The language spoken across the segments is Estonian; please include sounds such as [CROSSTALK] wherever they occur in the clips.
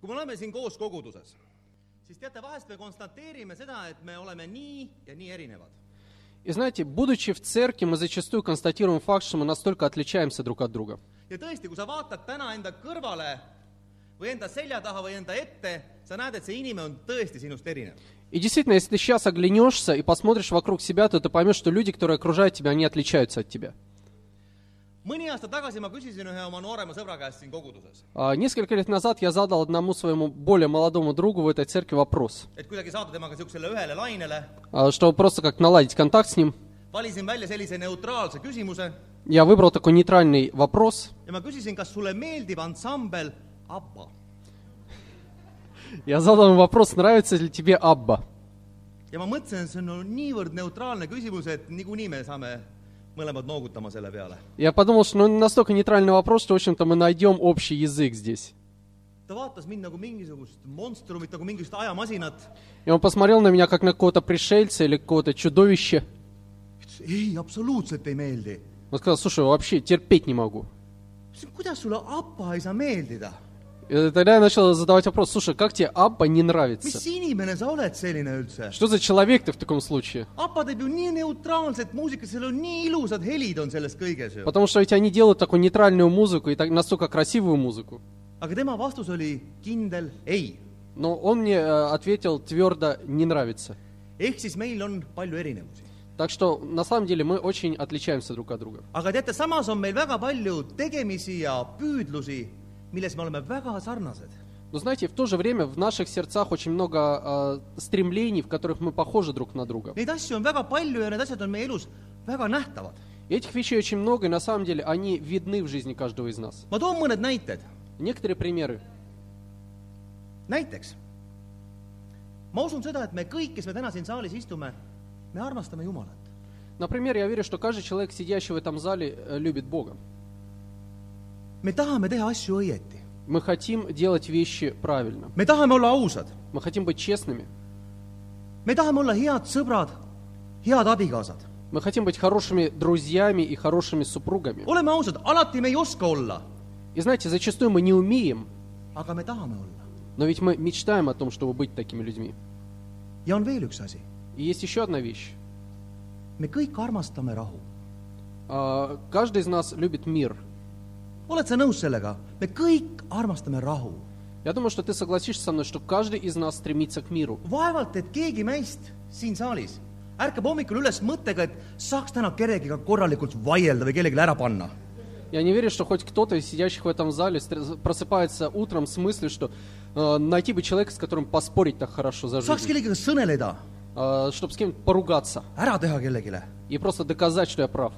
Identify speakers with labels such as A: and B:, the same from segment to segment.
A: kui me oleme siin koos koguduses, siis teate, vahest me konstateerime seda, et me oleme nii ja nii erinevad.
B: И знаете, будучи в церкви, мы зачастую констатируем факт, что мы настолько отличаемся друг от друга.
A: ja tõesti , kui sa vaatad täna enda kõrvale või enda selja taha või enda ette , sa näed , et see inimene on tõesti sinust erinev .
B: И действительно, если ты сейчас оглянешься и посмотришь вокруг себя, то ты поймешь, что люди, которые окружают тебя, они отличаются от тебя.
A: mõni aasta tagasi ma küsisin ühe oma noorema sõbra käest siin koguduses ,
B: А, Несколько лет назад я задал одному своему более молодому другу в этой церкви вопрос,
A: et kuidagi saada temaga niisugusele ühele lainele ,
B: а, чтобы просто как наладить контакт с ним.
A: valisin välja sellise neutraalse küsimuse
B: Я выбрал такой нейтральный вопрос.
A: ja ma küsisin , kas sulle meeldib ansambel ABBA .
B: Я задал ему вопрос, нравится ли тебе Абба.
A: ja ma mõtlesin , et see on no niivõrd neutraalne küsimus , et niikuinii me saame mõlemad noogutama selle peale .
B: Я подумал, что ну, настолько нейтральный вопрос, что, в общем-то, мы найдем общий язык здесь.
A: ta vaatas mind nagu mingisugust monstrumit , nagu mingisugust ajamasinat ,
B: И он посмотрел на меня, как на какого-то пришельца или какого-то чудовища.
A: ütles ei , absoluutselt ei meeldi .
B: Он сказал, слушай, вообще терпеть не могу.
A: ütlesin , kuidas sulle ABBA ei saa meeldida ?
B: И тогда я начал задавать вопрос, слушай, как тебе Абба не
A: mis
B: нравится?
A: inimene sa oled selline üldse ?
B: Что за человек ты в таком случае?
A: ABBA teeb ju nii neutraalset muusikat , seal on nii ilusad helid on selles kõiges ju .
B: Потому что ведь они делают такую нейтральную музыку и так, настолько красивую музыку.
A: aga tema vastus oli kindel ei .
B: Но он мне э, ответил твердо «не нравится».
A: ehk siis meil on palju erinevusi .
B: Так что, на самом деле, мы очень отличаемся друг от друга.
A: aga teate , samas on meil väga palju tegemisi ja püüdlusi , milles me oleme väga sarnased .
B: Но знаете, в то же время в наших сердцах очень много э, стремлений, в которых мы похожи друг на друга.
A: Neid asju on väga palju ja need asjad on meie elus väga nähtavad .
B: И этих вещей очень много, и на самом деле они видны в жизни каждого из нас.
A: ma toon mõned näited .
B: Некоторые примеры.
A: näiteks , ma usun seda , et me kõik , kes me täna siin saalis istume , me armastame Jumalat .
B: Например, я верю, что каждый человек, сидящий в этом зале, э, любит Бога.
A: me tahame teha asju õieti ,
B: Мы хотим делать вещи правильно.
A: me tahame olla ausad ,
B: Мы хотим быть честными.
A: me tahame olla head sõbrad , head abikaasad .
B: Мы хотим быть хорошими друзьями и хорошими супругами.
A: oleme ausad , alati me ei oska olla ,
B: И знаете, зачастую мы не умеем,
A: aga me tahame olla .
B: но ведь мы мечтаем о том, чтобы быть такими людьми.
A: ja on veel üks asi ,
B: И есть еще одна вещь.
A: me kõik armastame rahu
B: А, Каждый из нас любит мир.
A: oled sa nõus sellega ? me kõik armastame rahu .
B: Я думаю, что ты согласишься со мной, что каждый из нас стремится к миру.
A: vaevalt , et keegi meist siin saalis ärkab hommikul üles mõttega , et saaks täna kellegiga korralikult vaielda või kellelegi ära panna .
B: Я не верю, что хоть кто-то из сидящих в этом зале стр- просыпается утром с мыслью, что э, найти бы человека, с которым поспорить так хорошо за
A: saaks
B: жизнь,
A: kellegiga sõneleda ,
B: чтобы э, с кем-то поругаться
A: ära teha kellegile
B: и просто доказать, что я прав.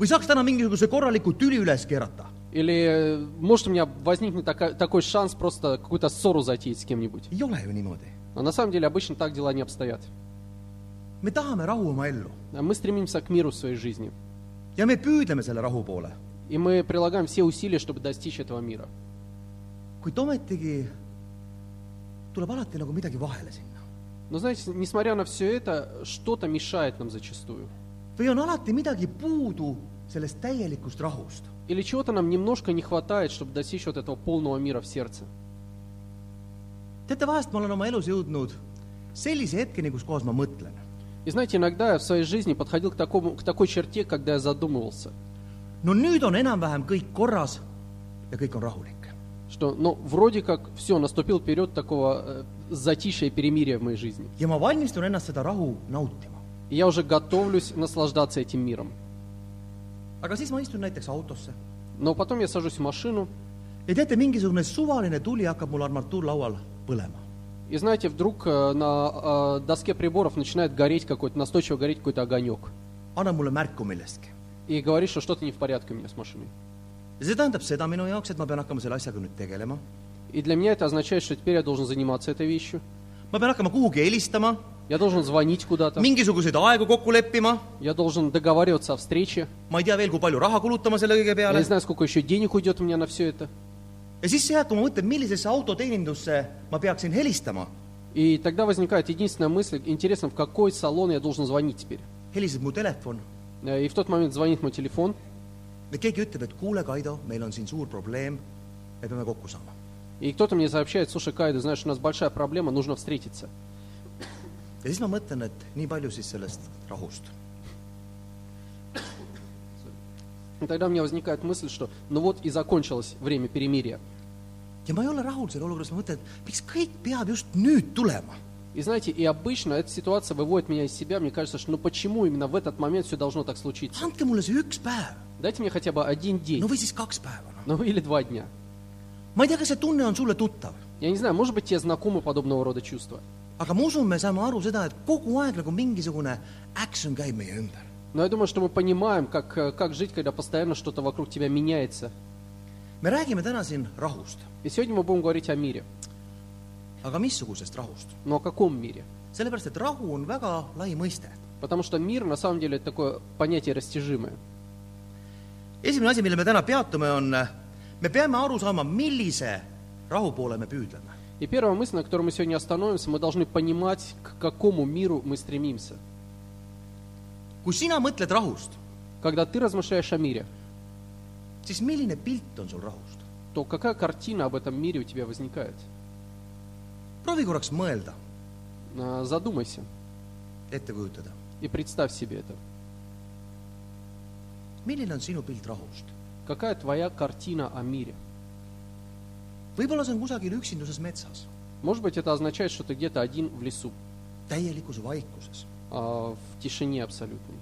A: või saaks täna mingisuguse korraliku tüli üles keerata .
B: Или э, может у меня возникнет така- такой шанс просто какую-то ссору затеять с кем-нибудь.
A: ei ole ju niimoodi .
B: Но на самом деле обычно так дела не обстоят.
A: me tahame rahu oma ellu
B: А Мы стремимся к миру в своей жизни.
A: ja me püüdleme selle rahu poole ,
B: И мы прилагаем все усилия, чтобы достичь этого мира.
A: kuid ometigi tuleb alati nagu midagi vahele sinna .
B: Но знаете, несмотря на все это, что-то mешает нам зачастую.
A: või on alati midagi puudu sellest täielikust rahust .
B: Или чего-то нам немножко не хватает, чтобы достичь вот этого полного мира в сердце.
A: teate , vahest ma olen oma elus jõudnud sellise hetkeni , kus kohas ma mõtlen .
B: И знаете, иногда я в своей жизни подходил к, такому, к такой черте, когда я задумывался,
A: no nüüd on enam-vähem kõik korras ja kõik on rahulik .
B: что, ну, вроде как, все, наступил период такого э, затишья и перемирия в моей жизни.
A: ja ma valmistun ennast seda rahu nautima .
B: И я уже готовлюсь наслаждаться этим миром.
A: aga siis ma istun näiteks autosse
B: Но потом я сажусь в машину,
A: ja teate , mingisugune suvaline tuli hakkab mul armatuurlaual põlema .
B: и знаете, вдруг э, на э, доске приборов начинает гореть какой-то, настойчиво гореть какой-то огонек.
A: annab mulle märku millestki .
B: И говорит, что что-то не в порядке у меня с машиной.
A: ja see tähendab seda minu jaoks , et ma pean hakkama selle asjaga nüüd tegelema ,
B: И для меня это означает, что теперь я должен заниматься этой вещью.
A: ma pean hakkama kuhugi helistama ,
B: Я должен звонить куда-то.
A: mingisuguseid aegu kokku leppima ,
B: Я должен договариваться о встрече.
A: ma ei tea veel , kui palju raha kulutama selle kõige
B: Я
A: peale
B: не знаю, сколько еще денег уйдет у меня на все это.
A: ja siis see jääb , kui ma mõtlen , millisesse autoteenindusse ma peaksin helistama ,
B: И тогда возникает единственная мысль, интересно, в какой салон я должен звонить теперь.
A: heliseb mu telefon
B: Э, И в тот момент звонит мой телефон,
A: ja keegi ütleb , et kuule , Kaido , meil on siin suur probleem , me peame kokku saama .
B: и И кто-то мне сообщает, слушай, Кайда, знаешь, у нас большая проблема, нужно встретиться.
A: ja siis ma mõtlen , et nii palju siis sellest rahust .
B: И тогда у меня возникает мысль, что ну вот и закончилось время перемирия.
A: ja ma ei ole rahul selle olukorras , ma mõtlen , et miks kõik peab just nüüd tulema .
B: И знаете, и обычно эта ситуация выводит меня из себя. Мне кажется, что ну почему именно в этот момент все должно так случиться?
A: andke mulle see üks päev ,
B: Дайте мне хотя бы один день,
A: no või siis kaks päeva , noh .
B: ну или два дня.
A: ma ei tea , kas see tunne on sulle tuttav ,
B: Я не знаю, может быть, тебе знакомы подобного рода чувства.
A: aga ma usun , me saame aru seda , et kogu aeg nagu mingisugune action käib meie ümber .
B: Но я думаю, что мы понимаем, как, э, как жить, когда постоянно что-то вокруг тебя меняется.
A: me räägime täna siin rahust ,
B: И сегодня мы будем говорить о мире.
A: aga missugusest rahust ?
B: Но о каком мире?
A: sellepärast , et rahu on väga lai mõiste .
B: Потому что мир, на самом деле, это такое понятие растяжимое.
A: esimene asi , millele me täna peatume , on , me peame aru saama , millise rahu poole me püüdleme .
B: И первая мысль, на которой мы сегодня остановимся, мы должны понимать, к какому миру мы стремимся.
A: kui sina mõtled rahust ,
B: Когда ты размышляешь о мире,
A: siis milline pilt on sul rahust ?
B: то какая картина об этом мире у тебя возникает?
A: proovi korraks mõelda ,
B: А, Задумайся
A: ette kujutada ,
B: и представь себе это.
A: milline on sinu pilt rahust ?
B: Какая твоя картина о мире?
A: võib-olla see on kusagil üksinduses metsas ,
B: Может быть, это означает, что ты где-то один в лесу,
A: täielikus vaikuses ,
B: а, в тишине абсолютной.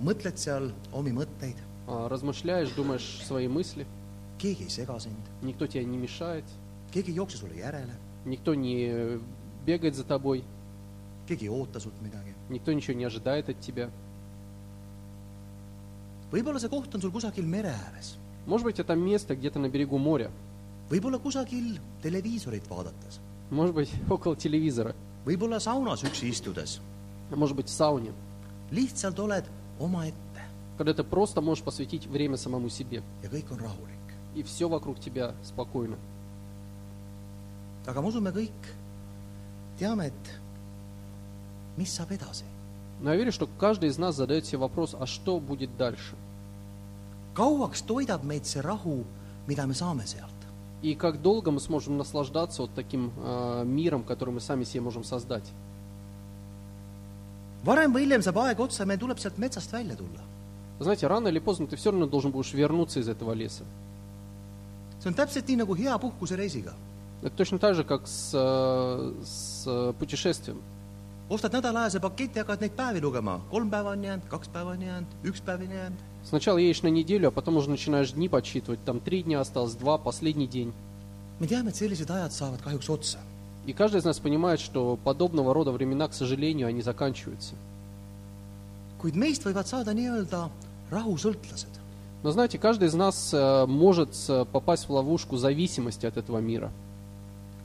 A: mõtled seal omi mõtteid ,
B: А, Размышляешь, думаешь свои мысли,
A: keegi ei sega sind ,
B: никто тебе не мешает,
A: keegi ei jookse sulle järele ,
B: никто не бегает за тобой,
A: keegi ei oota sult midagi .
B: никто ничего не ожидает от тебя.
A: võib-olla see koht on sul kusagil mere ääres ,
B: Может быть, это место где-то на берегу моря,
A: võib-olla kusagil televiisorit vaadates ,
B: может быть, [LAUGHS] около телевизора,
A: võib-olla saunas üksi istudes ,
B: а может быть, в сауне,
A: lihtsalt oled omaette
B: когда ты просто можешь посвятить время самому себе,
A: ja kõik on rahulik .
B: и все вокруг тебя спокойно.
A: aga ma usun , me kõik teame , et mis saab edasi .
B: Но я верю, что каждый из нас задает себе вопрос, а что будет дальше?
A: kauaks toidab meid see rahu , mida me saame sealt .
B: И как долго мы сможем наслаждаться вот таким э, миром, который мы сами себе можем создать?
A: varem või hiljem saab aeg otsa ja meil tuleb sealt metsast välja tulla .
B: Знаете, рано или поздно ты все равно должен будешь вернуться из этого леса.
A: see on täpselt nii nagu hea puhkusereisiga .
B: Это точно так же, как с, э, с э, путешествием.
A: ostad nädalajase paketi , hakkad neid päevi lugema , kolm päeva on jäänud , kaks päeva on jäänud , üks päev on jäänud .
B: Сначала едешь на неделю, а потом уже начинаешь дни подсчитывать. Там три дня осталось, два, последний день.
A: me teame , et sellised ajad saavad kahjuks otsa .
B: И каждый из нас понимает, что подобного рода времена, к сожалению, они заканчиваются.
A: kuid meist võivad saada nii-öelda rahusõltlased .
B: Но знаете, каждый из нас э, может э, попасть в ловушку зависимости от этого мира.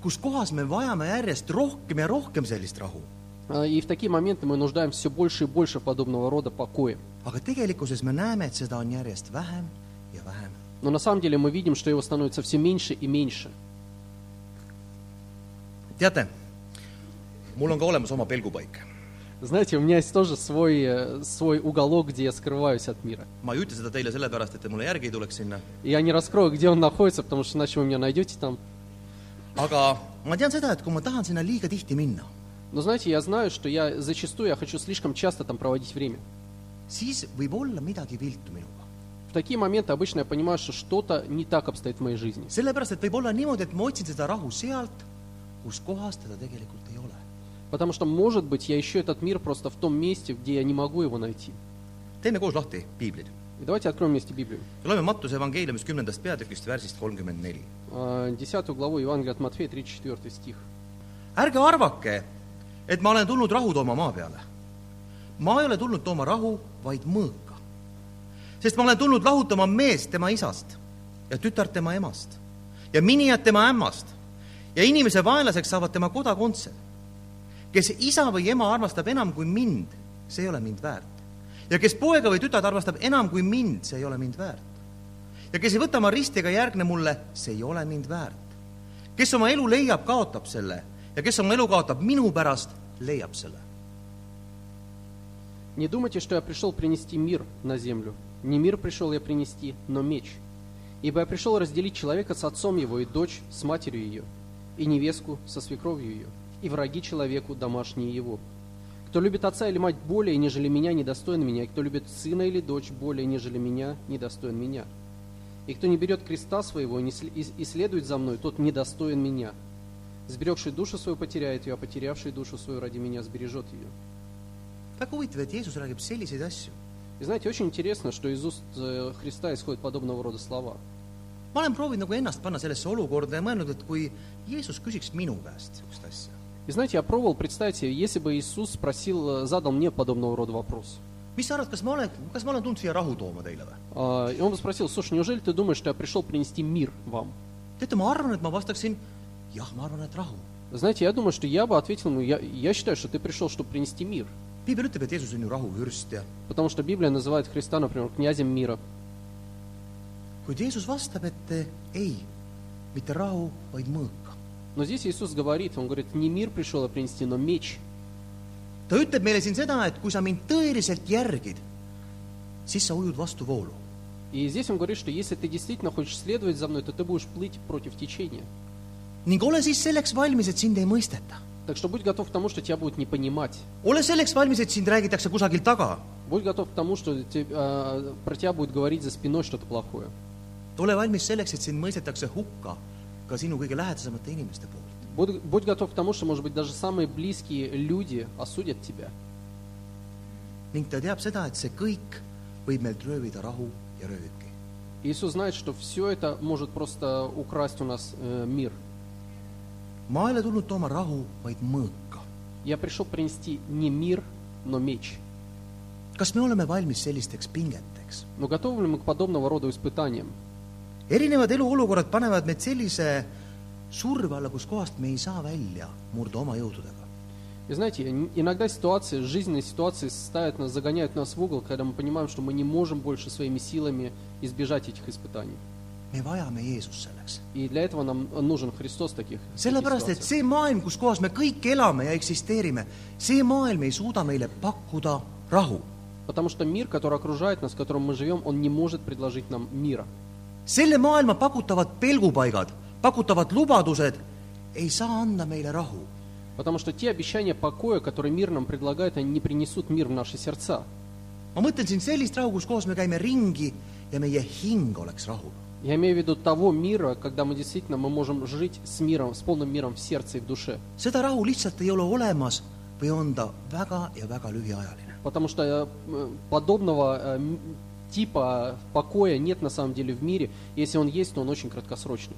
A: kus kohas me vajame järjest rohkem ja rohkem sellist rahu .
B: А, И в такие моменты мы нуждаемся все больше и больше в подобного рода покое.
A: aga tegelikkuses me näeme , et seda on järjest vähem ja vähem .
B: Но на самом деле мы видим, что его становится все меньше и меньше.
A: teate , mul on ka olemas oma pelgupaik .
B: Знаете, у меня есть тоже свой, э, свой уголок, где я скрываюсь от мира.
A: ma ei ütle seda teile sellepärast , et te mulle järgi ei tuleks sinna ,
B: И Я не раскрою, где он находится, потому что иначе вы меня найдете там.
A: aga ma tean seda , et kui ma tahan sinna liiga tihti minna ,
B: Но знаете, я знаю, что я зачастую я хочу слишком часто там проводить время.
A: siis võib olla midagi viltu minuga .
B: В такие моменты обычно я понимаю, что что-то не так обстоит в моей жизни.
A: sellepärast , et võib olla niimoodi , et ma otsin seda rahu sealt , kus kohas teda tegelikult ei ole .
B: Потому что, может быть, я ищу этот мир просто в том месте, где я не могу его найти.
A: teeme koos lahti piiblid .
B: И давайте откроем вместе Библию.
A: loeme Mattuse evangeeliumis kümnendast peatükist värsist kolmkümmend neli .
B: Э, 10 главу Евангелия от Матфея, 34 стих.
A: ärge arvake , et ma olen tulnud rahu tooma maa peale . ma ei ole tulnud tooma rahu , vaid mõõka . sest ma olen tulnud lahutama meest tema isast ja tütart tema emast ja minijat tema ämmast ja inimese vaenlaseks saavad tema kodakondsed . kes isa või ema armastab enam kui mind , see ei ole mind väärt . ja kes poega või tütart armastab enam kui mind , see ei ole mind väärt . ja kes ei võta oma risti ega järgne mulle , see ei ole mind väärt . kes oma elu leiab , kaotab selle ja kes oma elu kaotab minu pärast , leiab selle .
B: Не думайте, что я пришел принести мир на землю. Не мир пришел я принести, но меч. Ибо я пришел разделить человека с отцом его, и дочь с матерью ее, и невестку со свекровью ее, и враги человеку домашние его. Кто любит отца или мать более, нежели меня, недостоин меня, и кто любит сына или дочь более, нежели меня, недостоин меня. И кто не берет креста своего и не сл- и- и следует за мной, тот недостоин меня. Сберегший душу свою потеряет ее, а потерявший душу свою ради меня сбережет ее.
A: väga huvitav , et Jeesus räägib selliseid asju .
B: И знаете, очень интересно, что из уст э, Христа исходят подобного рода слова.
A: ma olen proovinud nagu ennast panna sellesse olukorda ja mõelnud , et kui Jeesus küsiks minu käest niisugust asja ,
B: И знаете, я пробовал представить себе, если бы Иисус спросил, э, задал мне подобного рода вопрос.
A: mis sa arvad , kas ma olen , kas ma olen tulnud siia rahu tooma teile või ?
B: А, И он бы спросил, слушай, неужели ты думаешь, что я пришел принести мир вам?
A: teate , ma arvan , et ma vastaksin jah , ma arvan , et rahu .
B: Знаете, я думаю, что я бы ответил ему, я, я считаю, что ты пришел, чтобы принести мир.
A: piibel ütleb , et Jeesus on ju rahuvürst ja
B: Потому что Библия называет Христа, например, князем мира.
A: kuid Jeesus vastab , et eh, ei , mitte rahu , vaid mõõka .
B: Но здесь Иисус говорит, он говорит, не мир пришел а принести, но меч.
A: ta ütleb meile siin seda , et kui sa mind tõeliselt järgid , siis sa ujud vastuvoolu .
B: И здесь он говорит, что если ты действительно хочешь следовать за мной, то ты будешь плыть против течения.
A: ning ole siis selleks valmis , et sind ei mõisteta .
B: Так что будь готов к тому, что тебя будут не понимать.
A: ole selleks valmis , et sind räägitakse kusagil taga .
B: Будь готов к тому, что те- а, про тебя будет говорить за спиной что-то плохое.
A: ole valmis selleks , et sind mõistetakse hukka ka sinu kõige lähedasemate inimeste poolt .
B: Будь, будь готов к тому, что, может быть, даже самые близкие люди осудят тебя.
A: ning ta teab seda , et see kõik võib meilt röövida rahu ja rööki .
B: Иисус знает, что все это может просто украсть у нас э, мир.
A: ma ei ole tulnud tooma rahu , vaid mõõka .
B: Я пришел принести не мир, но меч.
A: kas me oleme valmis sellisteks pingeteks ?
B: Но готовы ли мы к подобного рода испытаниям?
A: erinevad eluolukorrad panevad meid sellise surve alla , kuskohast me ei saa välja murda oma jõududega .
B: И знаете, ин- иногда ситуации, жизненные ситуации ставят нас, загоняют нас в угол, когда мы понимаем, что мы не можем больше своими силами избежать этих испытаний.
A: me vajame Jeesust selleks .
B: И для этого нам нужен Христос в таких, в таких
A: sellepärast , et
B: ситуациях.
A: see maailm , kus kohas me kõik elame ja eksisteerime , see maailm ei suuda meile pakkuda rahu .
B: Потому что мир, который окружает нас, в котором мы живем, он не может предложить нам мира.
A: selle maailma pakutavad pelgupaigad , pakutavad lubadused ei saa anda meile rahu .
B: Потому что те обещания покоя, которые мир нам предлагает, они не принесут мир в наши сердца.
A: ma mõtlen siin sellist rahu , kus kohas me käime ringi ja meie hing oleks rahul .
B: Я имею в виду того мира, когда мы действительно мы можем жить с миром, с полным миром в сердце и в душе.
A: seda rahu lihtsalt ei ole olemas või on ta väga ja väga lühiajaline .
B: Потому что э, подобного э, м- типа покоя нет на самом деле в мире. Если он есть, то он очень краткосрочный.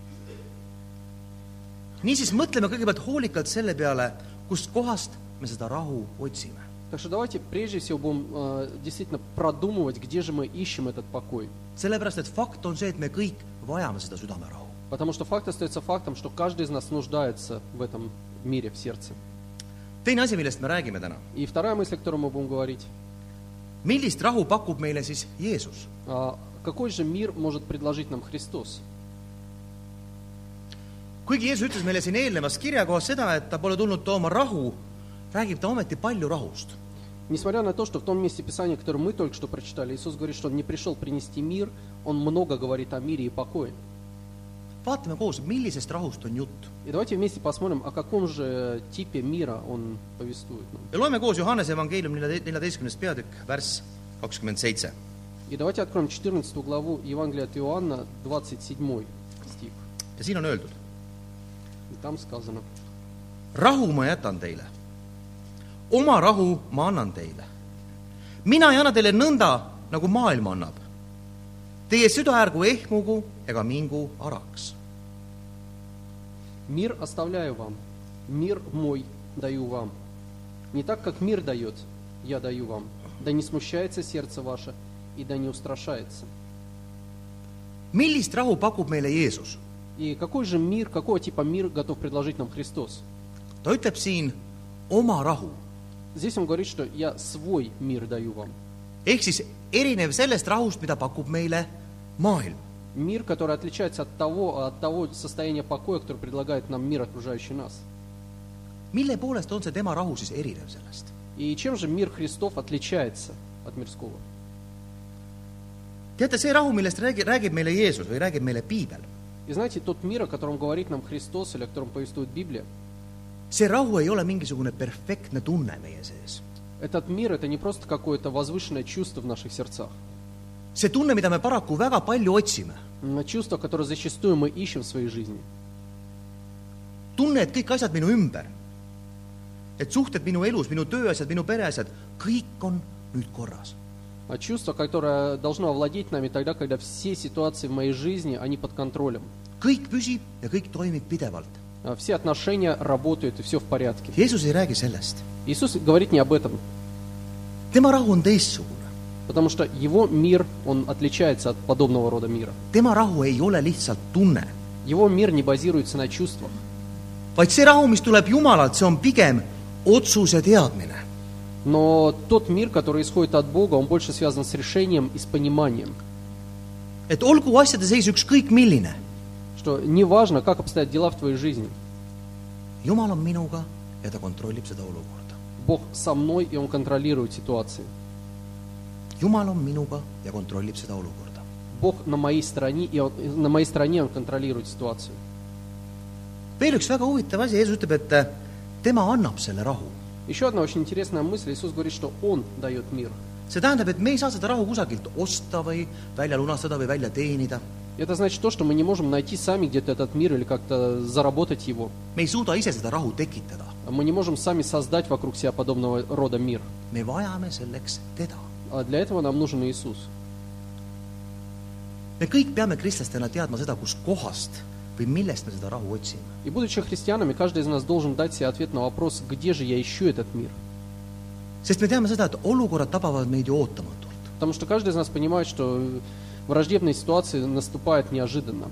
A: niisiis mõtleme kõigepealt hoolikalt selle peale , kust kohast me seda rahu otsime .
B: Так что давайте прежде всего будем э, действительно продумывать, где же мы ищем этот покой.
A: sellepärast , et fakt on see , et me kõik vajame seda südamerahu .
B: Потому что факт остается фактом, что каждый из нас нуждается в этом мире, в сердце.
A: teine asi , millest me räägime täna .
B: И вторая мысль, о которой мы будем говорить.
A: millist rahu pakub meile siis Jeesus ?
B: а, какой же мир может предложить нам Христос?
A: kuigi Jeesus ütles meile siin eelnevas kirjakohas seda , et ta pole tulnud tooma rahu , räägib ta ometi palju rahust .
B: Несмотря на то, что в том месте Писания, которое мы только что прочитали, Иисус говорит, что Он не пришел принести мир, Он много говорит о мире и покое.
A: vaatame koos , millisest rahust on jutt
B: И давайте вместе посмотрим, о каком же типе мира Он повествует нам.
A: ja loeme koos Johannese evangeeliumi neljateistkümnes peatükk , värss kakskümmend seitse .
B: И давайте откроем 14 главу Евангелия от Иоанна, 27 стих.
A: ja siin on öeldud
B: И там сказано,
A: rahu ma jätan teile , oma rahu ma annan teile . mina ei anna teile nõnda , nagu maailm annab . Teie süda ärgu ehmugu ega mingu araks .
B: «Мир оставляю вам, мир мой даю вам. Не так, как мир дает, я даю вам. Да не смущается сердце ваше, и да не устрашается».
A: millist rahu pakub meile Jeesus ?
B: И какой же мир, какого типа мир готов предложить нам Христос?
A: ta ütleb siin oma rahu
B: Здесь он говорит, что я свой мир даю вам.
A: ehk siis erinev sellest rahust , mida pakub meile maailm .
B: Мир, который отличается от того, от того состояния покоя, которое предлагает нам мир, окружающий нас.
A: mille poolest on see tema rahu siis erinev sellest ?
B: И чем же мир Христов отличается от мирского?
A: teate , see rahu , millest räägi- , räägib meile Jeesus või räägib meile piibel ,
B: И знаете, тот мир, о котором говорит нам Христос или о котором повествует Библия,
A: see rahu ei ole mingisugune perfektne tunne meie sees .
B: этот мир — это не просто какое-то возвышенное чувство в наших сердцах,
A: see tunne , mida me paraku väga palju otsime ,
B: но а чувство, которое зачастую мы ищем в своей жизни.
A: tunne , et kõik asjad minu ümber , et suhted minu elus , minu tööasjad , minu pereasjad , kõik on nüüd korras .
B: А чувство, которое должно овладеть нами тогда, когда все ситуации в моей жизни, они под контролем.
A: kõik püsib ja kõik toimib pidevalt .
B: А Все отношения работают, и все в порядке.
A: Jeesus ei räägi sellest ,
B: Иисус говорит не об этом,
A: tema rahu on teistsugune ,
B: потому что его мир, он отличается от подобного рода мира.
A: tema rahu ei ole lihtsalt tunne ,
B: Его мир не базируется на чувствах.
A: vaid see rahu , mis tuleb Jumalalt , see on pigem otsuse teadmine
B: Но тот мир, который исходит от Бога, он больше связан с решением и с пониманием,
A: et olgu asjade seis ükskõik milline ,
B: что неважно, как обстоят дела в твоей жизни,
A: Jumal on minuga ja ta kontrollib seda olukorda .
B: Бог со мной, и Он контролирует ситуации.
A: Jumal on minuga ja kontrollib seda olukorda .
B: Бог на моей стороне, и он, на моей стороне Он контролирует ситуацию.
A: veel üks väga huvitav asi , Jeesus ütleb , et äh, tema annab selle rahu .
B: Еще одна очень интересная мысль. Иисус говорит, что Он дает мир.
A: see tähendab , et me ei saa seda rahu kusagilt osta või välja lunastada või välja teenida .
B: Это значит то, что мы не можем найти сами где-то этот мир или как-то заработать его.
A: me ei suuda ise seda rahu tekitada ,
B: Мы не можем сами создать вокруг себя подобного рода мир.
A: me vajame selleks teda .
B: А для этого нам нужен Иисус.
A: me kõik peame kristlastena teadma seda , kuskohast või millest me seda rahu otsime .
B: И будучи христианами, каждый из нас должен дать себе ответ на вопрос, где же я ищу этот мир.
A: sest me teame seda , et olukorrad tabavad meid ju ootamatult .
B: Потому что каждый из нас понимает, что э, враждебные ситуации наступают неожиданно.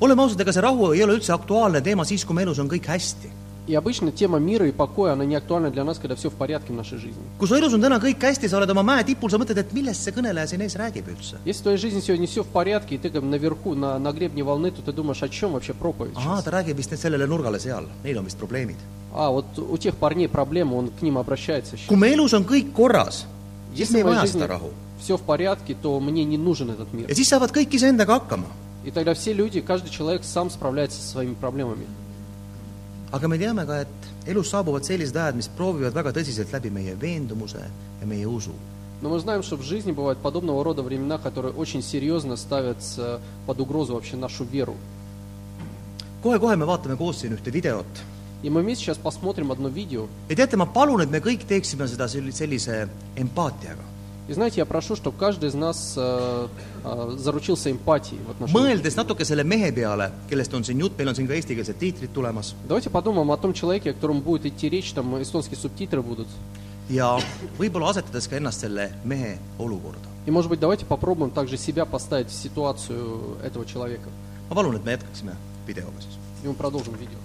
A: oleme ausad , ega see rahu ei ole üldse aktuaalne teema siis , kui me elus on kõik hästi .
B: И обычно тема мира и покоя, она не актуальна для нас, когда все в порядке в нашей жизни.
A: kui su elus on täna kõik hästi , sa oled oma mäe tipul , sa mõtled , et millest see kõneleja siin ees räägib üldse .
B: Если в твоей жизни сегодня все в порядке, и ты как бы наверху, на, на гребне волны, то ты думаешь, о чем вообще проповедь?
A: ahaa ,
B: сейчас?
A: ta räägib vist nüüd sellele nurgale seal , neil on vist probleemid .
B: А, вот у тех парней проблемы, он к ним обращается сейчас.
A: kui me elus on kõik korras , siis me
B: Если
A: ei
B: в моей
A: vaja
B: жизни
A: seda rahu
B: все в порядке, то мне не нужен этот мир.
A: ja siis saavad kõik iseendaga hakkama .
B: И тогда все люди, каждый человек сам справляется со своими проблемами.
A: aga me teame ka , et elus saabuvad sellised ajad , mis proovivad väga tõsiselt läbi meie veendumuse ja meie usu .
B: Но мы знаем, что в жизни бывают подобного рода времена, которые очень серьезно ставят э, под угрозу вообще нашу веру.
A: kohe-kohe me vaatame koos siin ühte videot
B: И мы вместе сейчас посмотрим одно видео.
A: ja teate , ma palun , et me kõik teeksime seda sel- sellise empaatiaga ,
B: И знаете, я прошу, чтобы каждый из нас э, э, заручился эмпатией в отношении.
A: mõeldes natuke selle mehe peale , kellest on siin jutt , meil on siin ka eestikeelsed tiitrid tulemas
B: Давайте подумаем о том человеке, о котором будет идти речь, там эстонские субтитры будут.
A: ja võib-olla asetades ka ennast selle mehe olukorda .
B: И, может быть, давайте попробуем также себя поставить в ситуацию этого человека.
A: ma palun , et me jätkaksime videoga siis ,
B: И мы продолжим видео.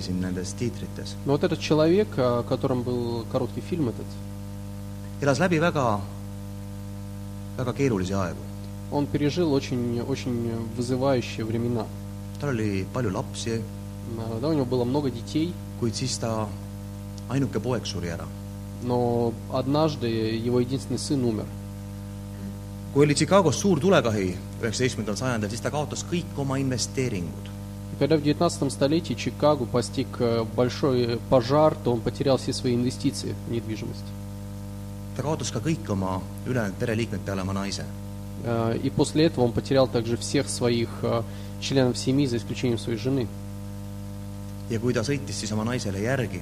A: siin nendes tiitrites .
B: Но вот этот человек, о котором был короткий фильм этот,
A: elas läbi väga , väga keerulisi aegu .
B: он пережил очень, очень вызывающие времена.
A: tal oli palju lapsi ,
B: Э, Да, у него было много детей,
A: kuid siis ta ainuke poeg suri ära .
B: но однажды его единственный сын умер.
A: kui oli Chicagos suur tulekahi üheksateistkümnendal sajandil , siis ta kaotas kõik oma investeeringud .
B: И когда в 19 столетии Чикаго постиг э, большой пожар, то он потерял все свои инвестиции в недвижимость.
A: ta kaotas ka kõik oma ülejäänud pereliikmed peale oma naise .
B: Э, И после этого он потерял также всех своих э, членов семьи, за исключением своей жены.
A: ja kui ta sõitis siis oma naisele järgi ,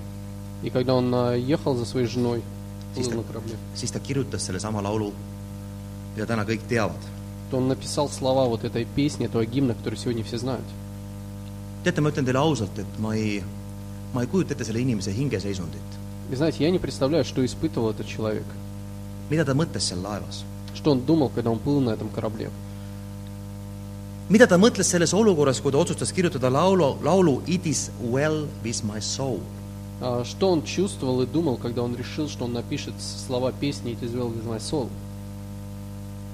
B: И когда он э, ехал за своей женой, плыл
A: Чисто.
B: на корабле,
A: siis ta kirjutas sellesama laulu , mida täna kõik teavad .
B: то он написал слова вот этой песни, этого гимна, который сегодня все знают.
A: teate , ma ütlen teile ausalt , et ma ei , ma ei kujuta ette selle inimese hingeseisundit ,
B: И знаете, я не представляю, что испытывал этот человек,
A: mida ta mõtles seal laevas
B: что он думал, когда он плыл на этом корабле.
A: mida ta mõtles selles olukorras , kui ta otsustas kirjutada laulu , laulu It is well with my soul .
B: А, Что он чувствовал и думал, когда он решил, что он напишет слова песни «It is well with my soul».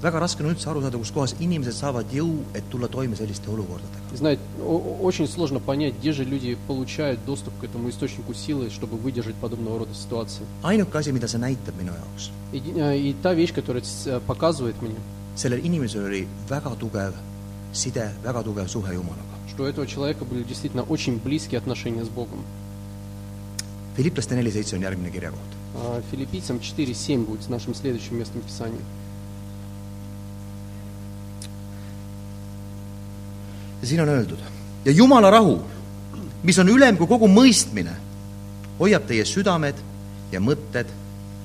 A: väga raske on üldse aru saada , kus kohas inimesed saavad jõu , et tulla toime selliste olukordadega .
B: И знаете, о- о- очень сложно понять, где же люди получают доступ к этому источнику силы, чтобы выдержать подобного рода ситуации.
A: ainuke asi , mida see näitab minu jaoks ,
B: И, ди- э, и та вещь, которая с- э, показывает мне,
A: sellel inimesel oli väga tugev side , väga tugev suhe Jumalaga .
B: что у этого человека были действительно очень близкие отношения с Богом.
A: Filiplaste neli seitse on järgmine kirjakoht .
B: А Филиппийцам 4.7 будет нашим следующим местом Писания.
A: ja siin on öeldud ja Jumala rahu , mis on ülem kui kogu mõistmine , hoiab teie südamed ja mõtted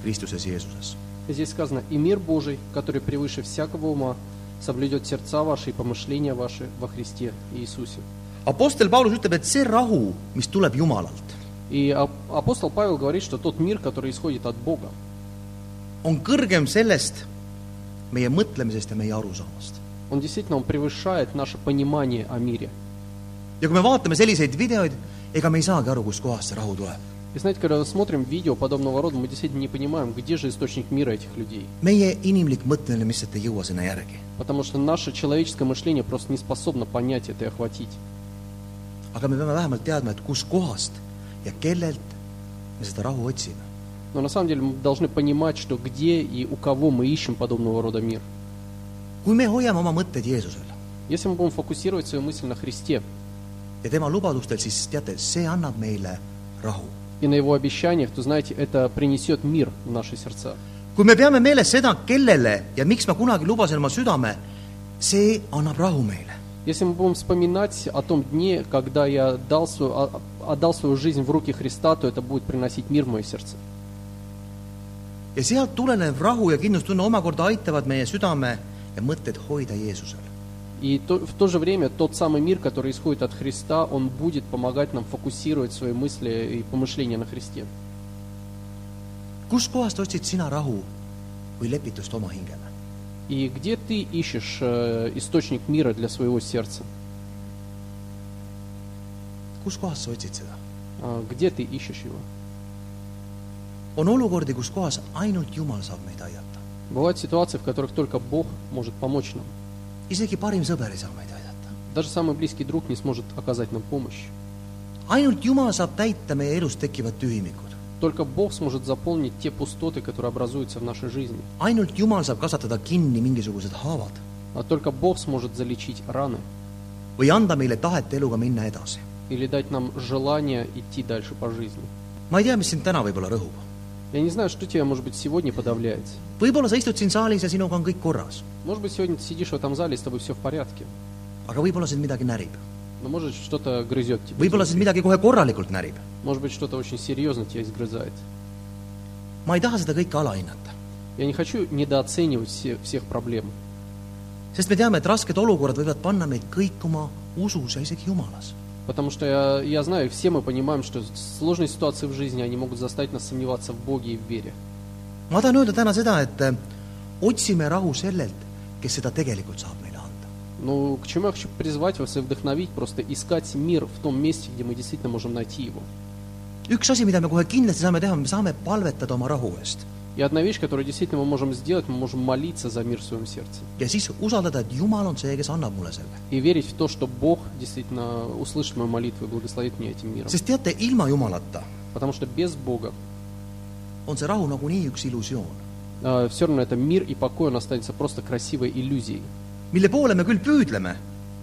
A: Kristuses Jeesuses .
B: Здесь сказано, «И мир Божий, который превыше всякого ума, соблюдет сердца ваши и помышления ваши во Христе Иисусе».
A: Apostel Paulus ütleb , et see rahu , mis tuleb Jumalalt ,
B: И ап- апостол Павел говорит, что тот мир, который исходит от Бога,
A: on kõrgem sellest meie mõtlemisest ja meie arusaamast .
B: он действительно он превышает наше понимание о мире.
A: ja kui me vaatame selliseid videoid , ega me ei saagi aru , kustkohast see rahu tuleb .
B: И знаете, когда мы смотрим видео подобного рода, мы действительно не понимаем, где же источник мира этих людей.
A: meie inimlik mõtlemine lihtsalt ei jõua sinna järgi .
B: Потому что наше человеческое мышление просто не способно понять это и охватить.
A: aga me peame vähemalt teadma , et kustkohast ja kellelt me seda rahu otsime .
B: Но на самом деле мы должны понимать, что где и у кого мы ищем подобного рода мир.
A: kui me hoiame oma mõtteid Jeesusel
B: Если мы будем фокусировать свою мысль на Христе
A: ja tema lubadustel , siis teate , see annab meile rahu .
B: и на Его обещаниях, то, знаете, это принесет мир в наши сердца.
A: kui me peame meeles seda , kellele ja miks ma kunagi lubasin oma südame , see annab rahu meile .
B: Если мы будем вспоминать о том дне, когда я отдал свою, а- отдал свою жизнь в руки Христа, то это будет приносить мир в мое сердце.
A: ja sealt tulenev rahu ja kindlustunne omakorda aitavad meie südame ja mõtted hoida Jeesusel .
B: И то- в то же время тот самый мир, который исходит от Христа, он будет помогать нам фокусировать свои мысли и помышления на Христе.
A: kuskohast ostsid sina rahu või lepitust oma hingele ?
B: И где ты ищешь э, источник мира для своего сердца?
A: kuskohast sa otsid seda ?
B: А, Где ты ищешь его?
A: on olukordi , kus kohas ainult Jumal saab meid aidata .
B: Бывают ситуации, в которых только Бог может помочь нам.
A: isegi parim sõber ei saa meid aidata .
B: Даже самый близкий друг не сможет оказать нам помощь.
A: ainult Jumal saab täita meie elus tekkivad tühimikud .
B: Только Бог сможет заполнить те пустоты, которые образуются в нашей жизни.
A: ainult Jumal saab kasvatada kinni mingisugused haavad
B: А только Бог сможет залечить раны
A: või anda meile tahet eluga minna edasi .
B: или дать нам желание идти дальше по жизни.
A: ma ei tea , mis sind täna võib-olla rõhub .
B: Я не знаю, что тебя, может быть, сегодня подавляет.
A: võib-olla sa istud siin saalis ja sinuga on kõik korras ,
B: Может быть, сегодня ты сидишь в этом зале, и с тобой все в порядке.
A: aga võib-olla sind midagi närib .
B: Но может, что-то грызет тебя.
A: võib-olla sind
B: изнутри.
A: midagi kohe korralikult närib .
B: Может быть, что-то очень серьезно тебя изгрызает.
A: ma ei taha seda kõike alahinnata ,
B: Я не хочу недооценивать все- всех проблем.
A: sest me teame , et rasked olukorrad võivad panna meid kõik oma usus ja isegi Jumalas .
B: Потому что я, я знаю, и все мы понимаем, что сложные ситуации в жизни, они могут заставить нас сомневаться в Боге и в вере.
A: ma tahan öelda täna seda , et äh, otsime rahu sellelt , kes seda tegelikult saab meile anda .
B: Ну, к чему я хочу призвать вас и вдохновить, просто искать мир в том месте, где мы действительно можем найти его.
A: üks asi , mida me kohe kindlasti saame teha , me saame palvetada oma rahu eest
B: И одна вещь, которую действительно мы можем сделать, мы можем молиться за мир в своем сердце.
A: ja siis usaldada , et Jumal on see , kes annab mulle selle .
B: И верить в то, что Бог действительно услышит мою молитву и благословит меня этим миром.
A: sest teate , ilma Jumalata
B: Потому что без Бога
A: on see rahu nagunii üks illusioon ,
B: все э, равно это мир и покой, он останется просто красивой иллюзией,
A: mille poole me küll püüdleme ,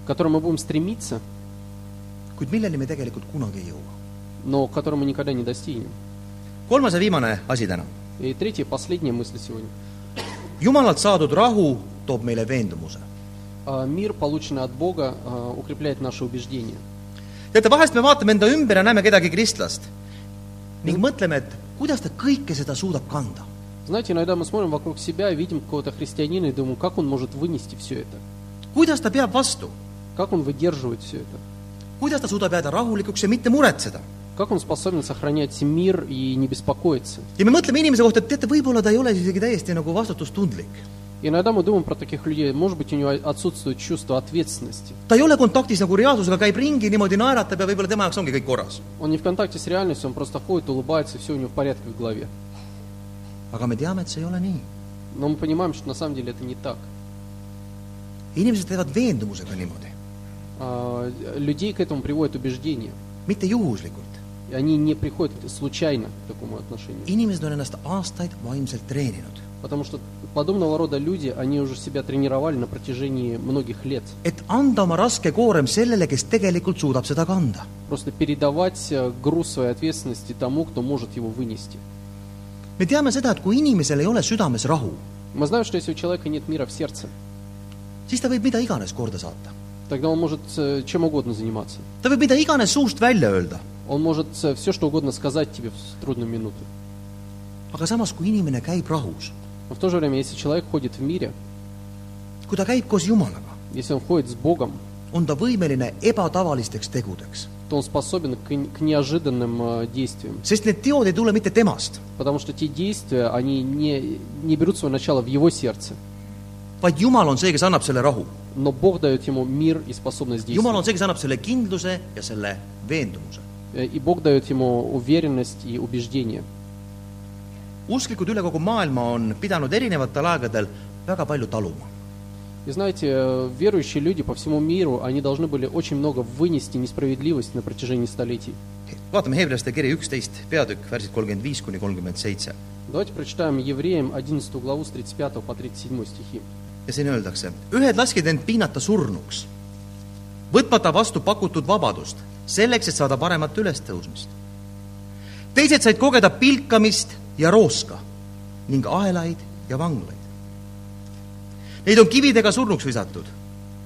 B: к которой мы будем стремиться,
A: kuid milleni me tegelikult kunagi ei jõua .
B: но к которой мы никогда не достигнем.
A: kolmas ja viimane asi täna .
B: И третья, последняя мысль сегодня.
A: Jumalalt saadud rahu toob meile veendumuse .
B: А, Мир, полученный от Бога, а, укрепляет наши убеждения.
A: teate , vahest me vaatame enda ümber ja näeme kedagi kristlast ning mõtleme , et kuidas ta kõike seda suudab kanda .
B: Знаете, иногда мы смотрим вокруг себя и видим какого-то христианина и думаем, как он может вынести все это,
A: kuidas ta peab vastu ,
B: как он выдерживает все это,
A: kuidas ta suudab jääda rahulikuks ja mitte muretseda .
B: как он способен сохранять мир и не беспокоиться.
A: ja me mõtleme inimese kohta , et teate , võib-olla ta ei ole isegi täiesti nagu vastutustundlik .
B: Иногда мы думаем про таких людей, может быть, у него отсутствует чувство ответственности.
A: ta ei ole kontaktis nagu reaalsusega , käib ringi , niimoodi naeratab ja võib-olla tema jaoks ongi kõik korras .
B: Он не в контакте с реальностью, он просто ходит, улыбается, и все у него в порядке в голове.
A: aga me teame , et see ei ole nii .
B: Но мы понимаем, что на самом деле это не так.
A: inimesed teevad veendumusega niimoodi ,
B: А, Людей к этому приводит убеждение.
A: mitte juhuslikult ,
B: И они не приходят случайно к такому отношению.
A: inimesed on ennast aastaid vaimselt treeninud ,
B: Потому что подобного рода люди, они уже себя тренировали на протяжении многих лет.
A: et anda oma raske koorem sellele , kes tegelikult suudab seda kanda .
B: Просто передавать э, груз своей ответственности тому, кто может его вынести.
A: me teame seda , et kui inimesel ei ole südames rahu ,
B: Мы знаем, что если у человека нет мира в сердце,
A: siis ta võib mida iganes korda saata .
B: тогда он может э, чем угодно заниматься.
A: ta võib mida iganes suust välja öelda ,
B: Он может все, что угодно сказать тебе в трудную минуту.
A: aga samas , kui inimene käib rahus ,
B: Но в то же время, если человек ходит в мире,
A: kui ta käib koos Jumalaga ,
B: если он ходит с Богом,
A: on ta võimeline ebatavalisteks tegudeks ,
B: то он способен к, н- к неожиданным э, действиям.
A: sest need teod ei tule mitte temast ,
B: Потому что те действия, они не, не берут свое начало в его сердце.
A: vaid Jumal on see , kes annab selle rahu .
B: Но Бог дает ему мир и способность
A: Jumal on
B: действовать.
A: see , kes annab selle kindluse ja selle veendumuse .
B: Э, И Бог дает ему уверенность и убеждение.
A: usklikud üle kogu maailma on pidanud erinevatel aegadel väga palju taluma .
B: И знаете, э, верующие люди по всему миру, они должны были очень много вынести несправедливости на протяжении столетий.
A: vaatame Heebreaste kiri üksteist peatükk , värsid kolmkümmend viis kuni kolmkümmend seitse
B: Давайте прочитаем Евреям 11 главу с 35 по 37 стихи.
A: ja siin öeldakse , ühed laskid end piinata surnuks , võtmata vastu pakutud vabadust , selleks , et saada paremat ülestõusmist . teised said kogeda pilkamist ja rooska ning aelaid ja vanglaid . Neid on kividega surnuks visatud ,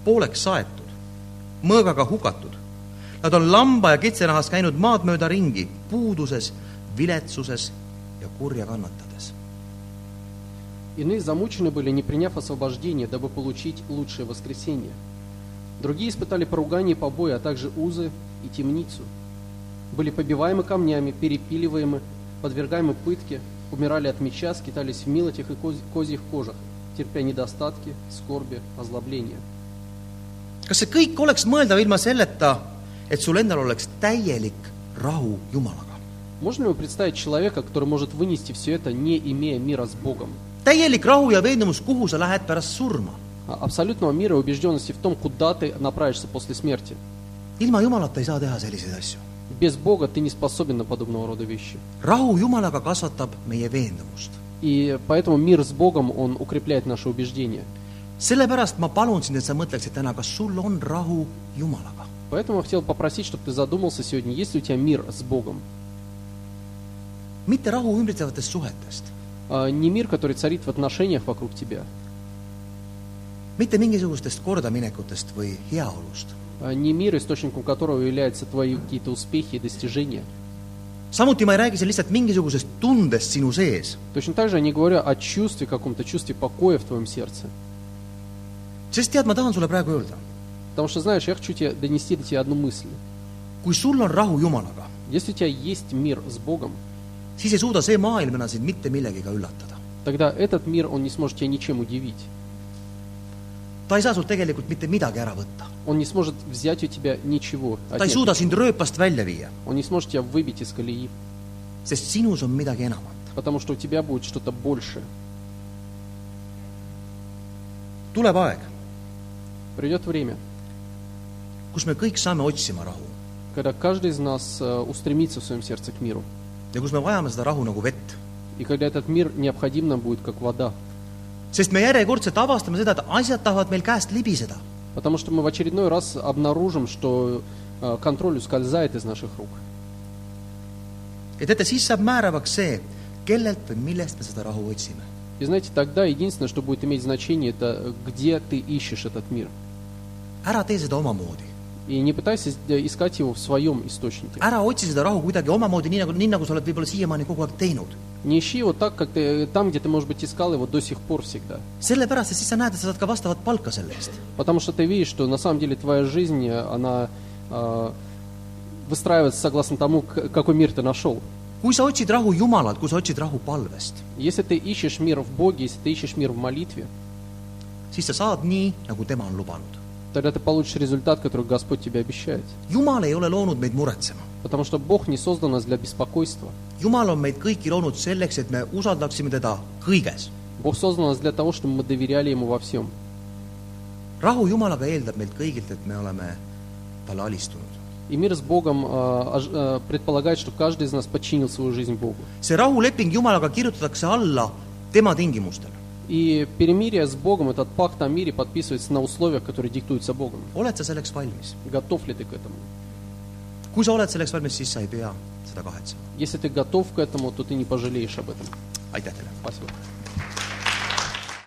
A: pooleks saetud , mõõgaga hukatud . Nad on lamba ja kitsenahas käinud maad mööda ringi puuduses , viletsuses ja kurja kannatades
B: Иные замучены были, не приняв освобождение, дабы получить лучшее воскресение. Другие испытали поругание и побои, а также узы и темницу. Были побиваемы камнями, перепиливаемы, подвергаемы пытке, умирали от меча, скитались в милотях и коз- козьих кожах, терпя недостатки, скорби, озлобления.
A: kas see kõik oleks mõeldav ilma selleta , et sul endal oleks täielik rahu Jumalaga ?
B: Можно ли вы представить человека, который может вынести все это, не имея мира с Богом?
A: täielik rahu ja veendumus , kuhu sa lähed pärast surma .
B: А- Абсолютного мира и убежденности в том, куда ты направишься после смерти.
A: ilma Jumalata ei saa teha selliseid asju .
B: Без Бога ты не способен на подобного рода вещи.
A: rahu Jumalaga kasvatab meie veendumust .
B: И поэтому мир с Богом, он укрепляет наши убеждения.
A: sellepärast ma palun sind , et sa mõtleksid täna , kas sul on rahu Jumalaga .
B: Поэтому я хотел попросить, чтобы ты задумался сегодня, есть ли у тебя мир с Богом?
A: mitte rahu ümbritsevatest suhetest ,
B: А, Не мир, который царит в отношениях вокруг тебя,
A: mitte mingisugustest kordaminekutest või heaolust .
B: а, не мир, источником которого являются твои какие-то успехи и достижения.
A: samuti ma ei räägi siin lihtsalt mingisugusest tundest sinu sees ,
B: Точно так же я не говорю о чувстве, каком-то чувстве покоя в твоем сердце.
A: sest tead , ma tahan sulle praegu öelda ,
B: Потому что, знаешь, я хочу тебе донести до тебя одну мысль.
A: kui sul on rahu Jumalaga
B: Если у тебя есть мир с Богом,
A: siis ei suuda see maailm enam sind mitte millegiga üllatada .
B: тогда этот мир, он не сможет тебя ничем удивить.
A: ta ei saa sult tegelikult mitte midagi ära võtta .
B: Он не сможет взять у тебя ничего.
A: ta ei
B: отнять.
A: suuda sind rööpast välja viia ,
B: Он не сможет тебя выбить из колеи.
A: sest sinus on midagi enamat .
B: потому что у тебя будет что-то большее.
A: tuleb aeg ,
B: Придет время,
A: kus me kõik saame otsima rahu
B: когда каждый из нас э, устремится в своем сердце к миру.
A: ja kus me vajame seda rahu nagu vett .
B: И когда этот мир необходим нам будет, как вода.
A: sest me järjekordselt avastame seda , et asjad tahavad meil käest libiseda .
B: Потому что мы в очередной раз обнаружим, что э, контроль ускользает из наших рук.
A: ja teate , siis saab määravaks see , kellelt või millest me seda rahu otsime .
B: И знаете, тогда единственное, что будет иметь значение, это э, где ты ищешь этот мир.
A: ära tee seda omamoodi .
B: И не пытайся э, искать его в своем источнике.
A: ära otsi seda rahu kuidagi omamoodi , nii nagu , nii nagu sa oled võib-olla siiamaani kogu aeg teinud .
B: Не ищи его так, как ты, э, там, где ты, может быть, искал его до сих пор всегда.
A: sellepärast , et siis sa näed , et sa saad ka vastavat palka selle eest
B: Потому что ты видишь, что на самом деле твоя жизнь, э, она э, выстраивается согласно тому, к- какой мир ты нашел.
A: kui sa otsid rahu Jumalat , kui sa otsid rahu palvest ,
B: Если ты ищешь мир в Боге, если ты ищешь мир в молитве,
A: siis sa saad nii , nagu tema on lubanud .
B: тогда ты получишь результат, который Господь тебе обещает.
A: Jumal ei ole loonud meid muretsema .
B: Потому что Бог не создан нас для беспокойства.
A: Jumal on meid kõiki loonud selleks , et me usaldaksime teda kõiges .
B: Бог создан нас для того, чтобы мы доверяли Ему во всем.
A: rahu Jumalaga eeldab meilt kõigilt , et me oleme talle alistunud .
B: И мир с Богом а, ож- а, предполагает, что каждый из нас подчинил свою жизнь Богу.
A: see rahuleping Jumalaga kirjutatakse alla tema tingimustel .
B: И перемирие с Богом, этот пакт о мире подписывается на условиях, которые диктуются Богом.
A: oled sa selleks valmis ?
B: Готов ли ты к этому?
A: kui sa oled selleks valmis , siis sa ei pea seda kahetsema .
B: Если ты готов к этому, то ты не пожалеешь об этом.
A: aitäh teile !
B: Спасибо.